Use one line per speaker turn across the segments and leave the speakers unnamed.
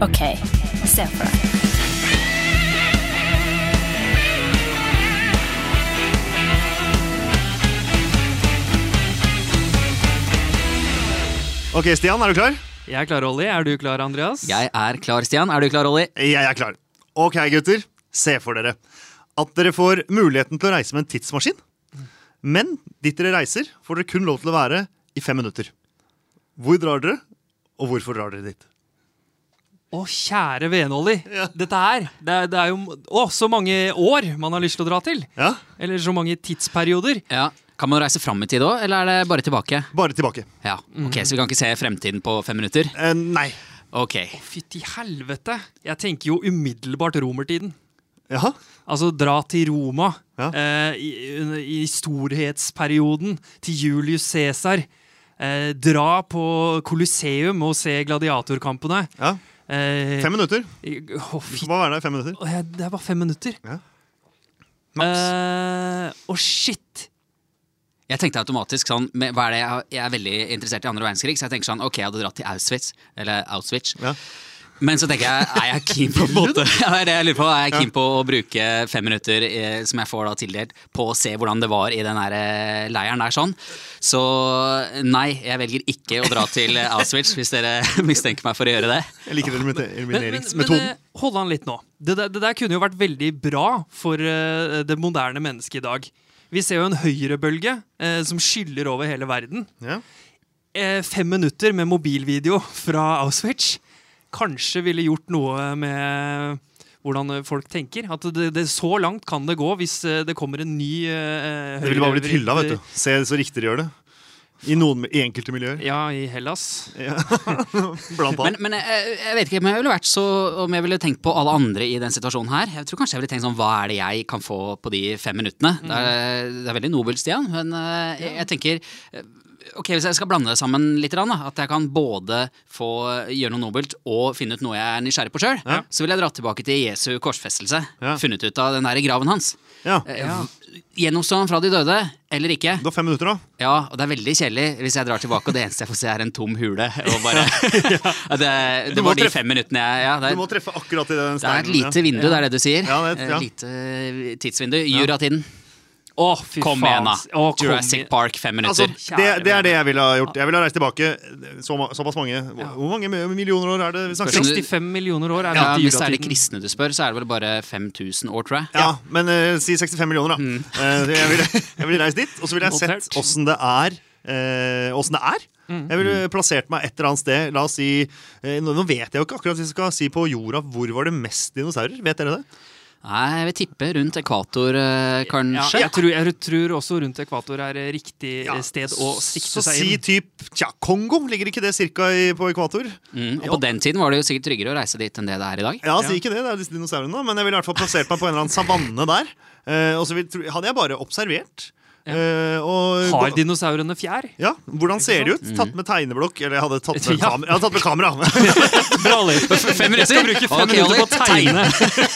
OK, se for deg.
Ok, Stian, er du klar?
Jeg er klar, Olli. Er du klar, Andreas?
Jeg er klar, Stian. Er du klar, Olli?
Jeg er klar. Ok, gutter. Se for dere at dere får muligheten til å reise med en tidsmaskin. Men dit dere reiser, får dere kun lov til å være i fem minutter. Hvor drar dere, og hvorfor drar dere dit?
Å, kjære vene, Olli.
Ja.
Dette her, det er, det er jo Å, så mange år man har lyst til å dra til.
Ja,
Eller så mange tidsperioder.
Ja. Kan man reise fram i tid òg, eller er det bare tilbake?
Bare tilbake.
Ja, ok, Så vi kan ikke se fremtiden på fem minutter?
Eh, nei.
Ok.
Fytti helvete! Jeg tenker jo umiddelbart romertiden.
Jaha.
Altså dra til Roma
Ja.
eh, i, under- i storhetsperioden, til Julius Cæsar. Eh, dra på Colosseum og se gladiatorkampene.
Ja.
Eh,
Fem minutter.
Å,
Du
fy
får bare være der i fem minutter.
Å, jeg- Det er bare fem minutter.
Ja.
Eh, Å, shit!
Jeg tenkte automatisk sånn men hva er det jeg, har- jeg er veldig interessert i andre verdenskrig, så jeg tenker sånn ok, jeg hadde dratt til Auschwitz. Eller Auschwitz.
Ja.
Men så tenker jeg, er jeg keen på, på en måte, ja, det er det jeg lurer på, er jeg keen på å bruke fem minutter eh, som jeg får da tildelt, på å se hvordan det var i den her eh, leiren der sånn. Så nei, jeg velger ikke å dra til eh, Auschwitz hvis dere mistenker meg for å gjøre det.
Jeg liker elimine-
Men,
elimineringsmetoden.
men, eh, hold an litt nå. Det der, det der kunne jo vært veldig bra for eh, det moderne mennesket i dag. Vi ser jo en høyrebølge eh, som skyller over hele verden.
Ja.
Eh, fem minutter med mobilvideo fra Auschwitz kanskje ville gjort noe med hvordan eh, folk tenker. At det, det, så langt kan det gå hvis eh, det kommer en ny eh,
Det ville bare blitt
høyrevridd-
hylla, vet du. Se så riktig de gjør det. I noen i enkelte miljøer.
Ja, i Hellas.
Ja. Blant
Men,
annet.
men jeg, jeg vet ikke om jeg ville vært så Om jeg ville tenkt på alle andre i den situasjonen her. Jeg tror kanskje jeg ville tenkt sånn Hva er det jeg kan få på de fem minuttene?
Mm.
Det, er, det er veldig nobelt, Stian, men eh, jeg, jeg tenker eh, Ok, Hvis jeg skal blande det sammen litt, grann, da, at jeg kan både få gjøre noe nobelt og finne ut noe jeg er nysgjerrig på sjøl,
Ja.
så vil jeg dra tilbake til Jesu korsfestelse.
Ja.
Funnet ut av den der graven hans.
Ja.
Ja.
Gjenoppstå han fra de døde, eller ikke.
Du har fem minutter, da.
Ja, og det er veldig kjedelig hvis jeg drar tilbake og det eneste jeg får se, er en tom hule. Og bare, Ja, det,
Du
det
må
var de
treffe-
fem minuttene jeg ja, det,
Du må
er,
treffe akkurat i den
det er et
steinen.
lite vindu, det er det du sier.
Ja, det er et-
Eh,
ja.
Lite eh, tidsvindu. Juratiden.
Å, fy
Kom
faen.
igjen, da.
Å, kom
Jurassic
igjen.
Park, fem
Altså,
minutter.
det, det er det jeg ville ha gjort. Jeg ville ha reist tilbake så, ma- såpass mange. Hvor hvor mange millioner år er det vi snakker om?
Spørsmål.
65 millioner år er vi
Ja,
til
hvis det er de
juratiden.
kristne du spør, så er det vel bare 5000 år, tror jeg.
Ja, men eh, si 65 millioner, da. Eh, jeg, ville, jeg ville reist dit, og så ville jeg
Notert. Mm.
sett åssen det er. eh, åssen det er. Jeg ville plassert meg et eller annet sted. La oss si eh, Nå nå vet jeg jo ikke akkurat hvis jeg skal si på jorda hvor var det mest dinosaurer. Vet dere det?
Nei, jeg vil tippe rundt ekvator, eh,
Ja,
kanskje.
jeg, tror, jeg tror også rundt ekvator er eh, riktig eh, sted å sikte
så
seg
si
inn.
typ Tja, Kongo. Ligger ikke det cirka i, på ekvator?
Mm, og på den tiden var det jo sikkert tryggere å reise dit enn det det er i dag.
Ja,
Ja.
si ikke det, det er disse dinosaurene, da, men jeg ville i hvert fall plassert meg på en eller annen savanne der. Eh, og så vil, tro- hadde jeg bare observert. eh, og,
Har dinosaurene fjær?
Ja, Hvordan ser de ut? Tatt med tegneblokk? Eller jeg hadde tatt med,
Ja.
kamera. Jeg hadde tatt med kamera.
Bra, Olli.
Fem minutter?
Skal bruke fem
Ok,
minutter på
Olli,
å tegne.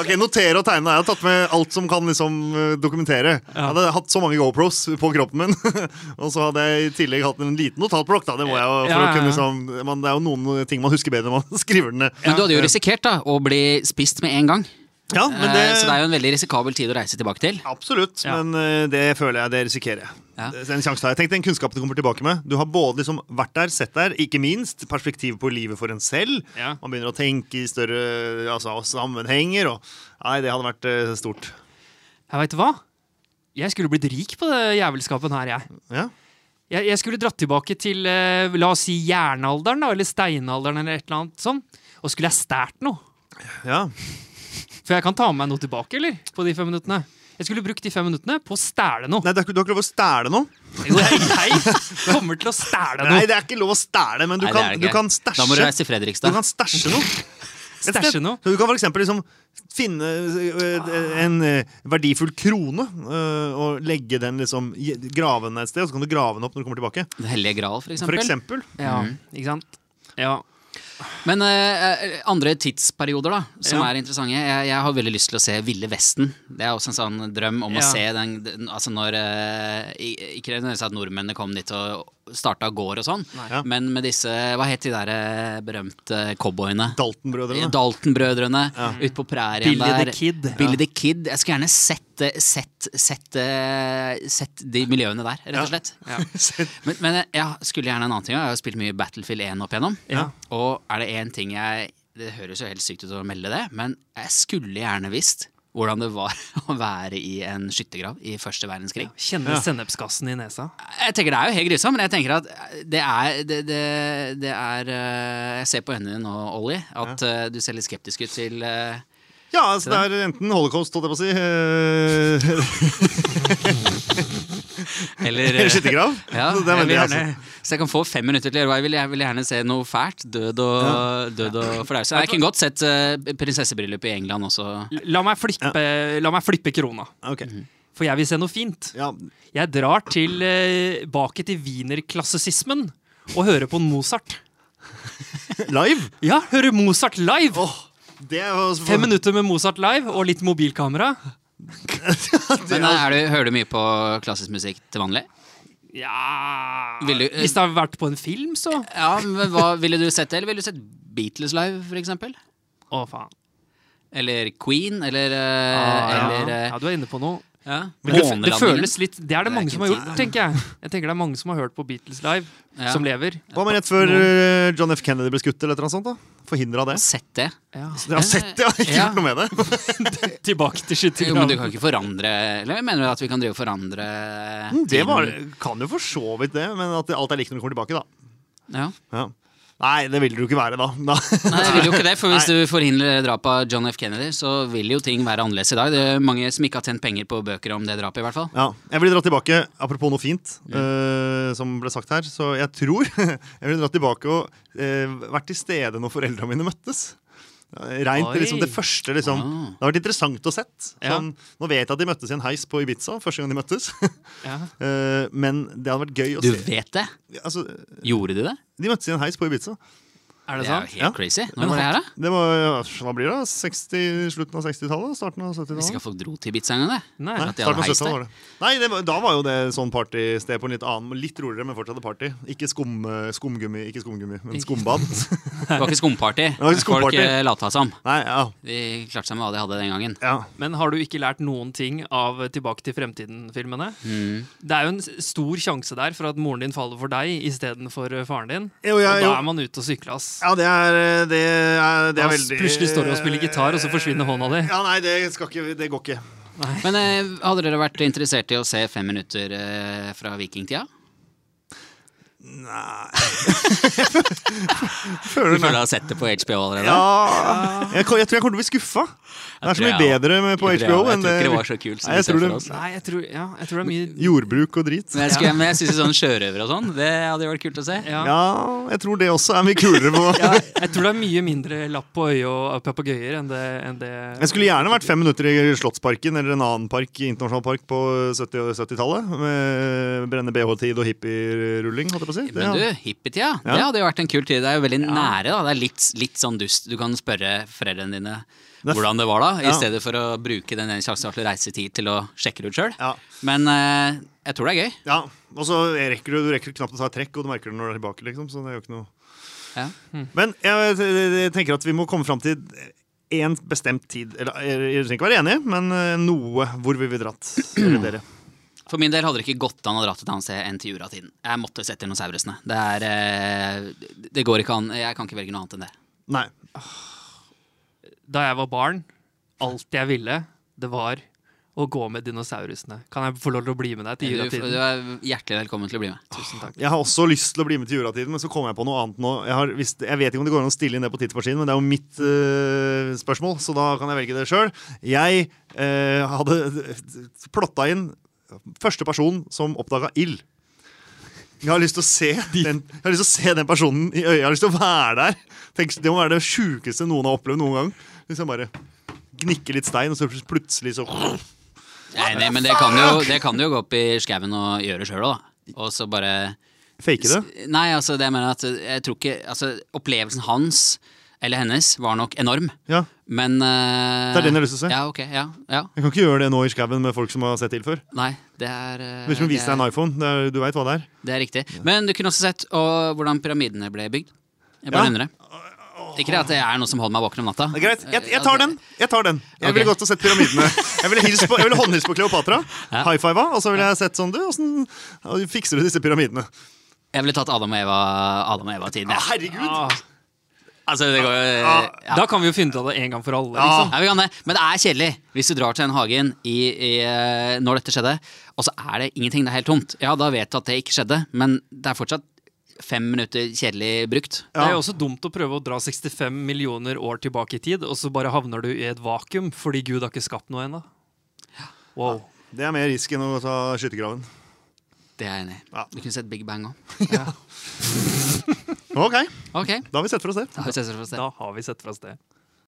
ok, Notere og tegne. Jeg hadde tatt med alt som kan liksom, eh, dokumentere. Jeg hadde hatt så mange GoPros på kroppen min. og så hadde jeg i tillegg hatt en liten notatblokk. da, Det må jeg jo, for
Ja,
å kunne
ja,
liksom, man, Det er jo noen ting man husker bedre når man skriver den ned.
Men du hadde jo risikert da, å bli spist med en gang.
Ja, men det,
Eh, Så det er jo en veldig risikabel tid å reise tilbake til.
Absolutt,
Ja.
men eh, det føler jeg det risikerer jeg.
Ja.
Det er en sjanse der. Tenk den kunnskapen du kommer tilbake med. Du har både liksom vært der, sett der, ikke minst perspektiv på livet for en selv.
Ja.
Man begynner å tenke i større altså, sammenhenger. Og, nei, det hadde vært eh, stort.
Jeg vet hva? Jeg skulle blitt rik på det jævelskapen her, jeg.
Ja.
Jeg, jeg skulle dratt tilbake til eh, la oss si jernalderen, da, eller steinalderen, eller et eller annet sånn. Og skulle jeg stært noe?
ja.
For jeg kan ta med meg noe tilbake, eller? På de fem minuttene. Jeg skulle brukt de fem minuttene på å stæle noe.
Nei, det er, ikke- du har ikke lov å stjele noe.
Jo, jeg, jeg kommer til å
Nei,
stæle noe.
det er ikke lov å stjele, men du
Nei, det er
kan,
det
du
ikke.
kan
Da må du
stæsje.
reise
Du
til Fredrikstad.
kan stæsje noe. Et sted.
Stæsje noe.
Så Du kan for eksempel liksom finne øh, en øh, verdifull krone øh, og legge den liksom i- grave den et sted, og så kan du grave den opp når du kommer tilbake.
Den hellige gral, for eksempel.
For eksempel.
Ja, ikke sant? Ja.
Men eh, eh, andre tidsperioder da, som
Ja.
er interessante. Jeg, jeg har veldig lyst til å se Ville Vesten. Det er også en sånn drøm om
Ja.
å se den, den altså når eh, i- Ikke nødvendigvis at nordmennene kom dit og starta gård og sånn.
Nei.
Ja.
Men med disse Hva het de der eh, berømte cowboyene?
Dalton-brødrene.
Dalton-brødrene ute på prærien
Billy
der.
the Kid.
Billy the Kid. Jeg skulle gjerne sett, eh, sett, sett, eh, sett de miljøene der, rett
Ja.
og slett.
Ja.
Men, men eh, jeg skulle gjerne en annen ting. Jeg har jo spilt mye Battlefield 1 opp igjennom.
Ja.
Og er det én ting jeg Det høres jo helt sykt ut å melde det, men jeg skulle gjerne visst hvordan det var å være i en skyttergrav i første verdenskrig.
Kjenner sennepsgassen i nesa.
Jeg tenker Det er jo helt grusomt, men jeg tenker at det er, det, det, det er eh, Jeg ser på øynene dine nå, Ollie, at eh, du ser litt skeptisk ut til eh,
Ja, altså det er enten holocaust, holdt jeg på å si, eh,
Eller eh,
eller skyttergrav.
Ja,
Så
jeg
det er
vil
veldig,
gjerne,
altså.
så jeg kan få fem minutter til å gjøre hva jeg vil. Jeg vil gjerne se noe fælt. Død og, død og fordøyelse. Jeg kunne godt sett eh, prinsessebryllup i England også.
La meg flippe, la meg flippe krona,
Ok.
Mhm.
for jeg vil se noe fint.
Ja,
Jeg drar tilbake til wienerklassisismen og hører på Mozart.
live?
Ja, hører Mozart live!
Det er jo
Fem minutter med Mozart live og litt mobilkamera.
Men eh, er du, hører du mye på klassisk musikk til vanlig?
Ja
Vil du- eh,
Hvis det har vært på en film, så Å,
Ja, men hva Ville du sett det, eller ville du sett Beatles live, for eksempel?
faen.
Eller Queen, eller, eh,
Ah, ja.
eller eh,
ja, du er inne på noe.
ja.
Men det, det
Månelandingen.
føles litt Det er det
er
mange
ikke
som har
tid,
gjort, tenker jeg. Jeg tenker det er mange som har hørt på Beatles live,
Ja.
som lever.
Hva med rett før eh, John F. Kennedy ble skutt, eller noe sånt? da? Forhindra det?
Sett det.
Ja.
Jeg har sett det, jeg har ikke
Ja.
gjort noe med det.
Tilbake til
Jo, men du
skyttergraven.
kan ikke forandre Eller mener du at vi kan drive og forandre
Mm, Det var,
tiden?
kan jo for så vidt det, men at det- alt er likt når du kommer tilbake, da.
ja.
Ja. Nei, det vil du ikke være, da. da.
Nei, jeg vil jo ikke det, for Hvis du forhindrer drapet av John F. Kennedy, så vil jo ting være annerledes i dag. Det er mange som ikke har tjent penger på bøker om det drapet, i hvert fall.
Ja, jeg vil dra tilbake, apropos noe fint eh, som ble sagt her, så jeg tror jeg vil dra tilbake og eh, vært til stede når foreldrene mine møttes. Rent
Oi.
til liksom det første. liksom
Ah.
Det har vært interessant å sett.
Ja.
Sånn, Nå vet jeg at de møttes i en heis på Ibiza. Første gang de møttes
Ja.
Eh, Men det hadde vært gøy å
Du
se.
vet det?
Altså,
Gjorde de det?
de møttes i en heis på Ibiza.
Er det
Det er
sant?
jo helt
Ja.
crazy. Når var det her, da?
Det var, ja, Hva blir det? da? 60, slutten av 60-tallet? Starten av
Hvis ikke
70-tallet?
folk dro til Ibiza engang, det.
Nei.
Nei,
at de
starten
hadde
av
heis
70-tallet var det. Nei det var, da var jo det sånn partysted på en litt annen, litt roligere, men fortsatt et party. Ikke skum, eh, skumgummi, ikke skumgummi, men skumbad.
Det var ikke skumparty.
var ikke skumparty.
Folk eh, lata som.
Nei, ja,
De klarte seg med hva de hadde den gangen.
ja.
Men har du ikke lært noen ting av Tilbake til fremtiden-filmene? Det er jo en s- stor sjanse der for at moren din faller for deg istedenfor faren din.
Jo, ja,
og
jo.
da er man ute og sykler, ass.
Ja, det er, eh, det er, det
Da
er veldig
plutselig står du og spiller gitar, og så forsvinner hånda di.
Ja, nei, det, skal ikke, det går ikke.
Men eh, hadde dere vært interessert i å se fem minutter eh, fra vikingtida?
Føler
Du føler du har sett det på HBO allerede?
Ja jeg, ko- jeg tror jeg kommer til å bli skuffa. Det er så mye
tror jeg
bedre med på
Jeg tror
HBO
jeg- jeg
enn
tror ikke det var så kult som
Nei, jeg
vi ser
tror
for
det-
oss.
Nei, jeg tror, ja, jeg tror det er mye
Jordbruk og drit.
Men jeg, skulle, men jeg synes sånn sjørøver og sånn, det hadde jo vært kult å se.
ja.
Ja, jeg tror det også er mye kulere på
Jeg tror det er mye mindre lapp på øyet og papegøyer enn det, enn det
Jeg skulle gjerne vært fem minutter i Slottsparken eller en annen park, internasjonal park på 70- og 70-tallet. Med brenne BH-tid og hippierulling, holdt jeg på å si. Det,
Men du,
ja.
hippietida, det hadde jo vært en kul tid. Det er jo veldig nære, da. Det er litt, litt sånn dust. Du kan spørre foreldrene dine
Det er f-
hvordan det var da, i
Ja.
stedet for å bruke den ene sjansen til å reise tid til å sjekke det ut sjøl.
Ja.
Men eh, jeg tror det er gøy.
ja. Og så rekker du, du rekker knapt å ta et trekk, og du merker det når du er tilbake. liksom, så det er jo ikke noe...
Ja.
Men jeg, jeg tenker at vi må komme fram til én bestemt tid. Eller jeg jeg trenger ikke være enig, men eh, noe hvor vi vil dratt. Eller dere.
For min del hadde det ikke gått an å dra til et annet sted enn til juratiden. Jeg måtte sett dinosaurene. Det er eh, Det går ikke an. Jeg kan ikke velge noe annet enn det.
Nei.
Da jeg var barn, alt jeg ville, det var å gå med dinosaurusene. Kan jeg få lov til å bli med deg til
Du, du
juratiden?
er hjertelig velkommen til å bli med.
Tusen takk.
Jeg har også lyst til å bli med til juratiden, men så kommer jeg på noe annet nå. Jeg, har, visst- jeg vet ikke om det går an å stille inn det på tidsmaskinen, men det er jo mitt eh, spørsmål, så da kan jeg velge det sjøl. Jeg eh, hadde plotta inn første person som oppdaga ild. Jeg har, lyst til å se den, jeg har lyst til å se den personen i øya. Jeg har lyst til å være der. Tenk, det må være det sjukeste noen har opplevd noen gang. Hvis jeg bare gnikker litt stein, og så plutselig så
Nei, nei, men det kan, jo, det kan du jo gå opp i skauen og gjøre sjøl òg, da. Og så bare
Fake det.
Nei, altså det jeg mener at jeg tror ikke altså, Opplevelsen hans eller hennes, var nok enorm.
Ja,
Men eh,
Det er den jeg har lyst til å se.
Ja, ok, ja, ja.
Jeg kan ikke gjøre det nå i skauen med folk som har sett til før.
Nei, det er eh,
Hvis hun
det
viser deg
er-
en iPhone, det er, du veit hva det er.
Det er riktig. Men du kunne også sett og, hvordan pyramidene ble bygd. Jeg
Ja.
bare undrer. Ikke det at det er noe som holder meg våken om natta.
Det er greit, jeg, jeg tar den. Jeg tar den Jeg ville
Ok.
gått og sett pyramidene. Jeg ville, hilse på, jeg ville håndhilse på Kleopatra,
Ja.
high fiva, og så ville jeg sett sånn Du, åssen fikser du disse pyramidene?
Jeg ville tatt Adam og Eva Adam og Eva-tiden.
Ja,
Ja.
herregud!
Ah,
Altså, det går jo
Ah.
ja.
Da kan vi jo finne ut av det en gang for alle.
Ja.
Liksom.
Ja, vi kan det. Men det er kjedelig hvis du drar til den hagen i, i, eh, når dette skjedde, og så er det ingenting, det er helt tomt. Ja, da vet du at det ikke skjedde, men det er fortsatt fem minutter kjedelig brukt.
Det er jo også dumt å prøve å dra 65 millioner år tilbake i tid, og så bare havner du i et vakuum fordi Gud har ikke skapt noe ennå. Wow.
Det er mer risk enn å ta skyttergraven.
Det er jeg enig i.
Ja.
Du kunne sett Big Bang òg.
Ok,
Ok,
da har vi sett for oss det.
da har vi sett oss for å se.
Da har vi sett fra sted.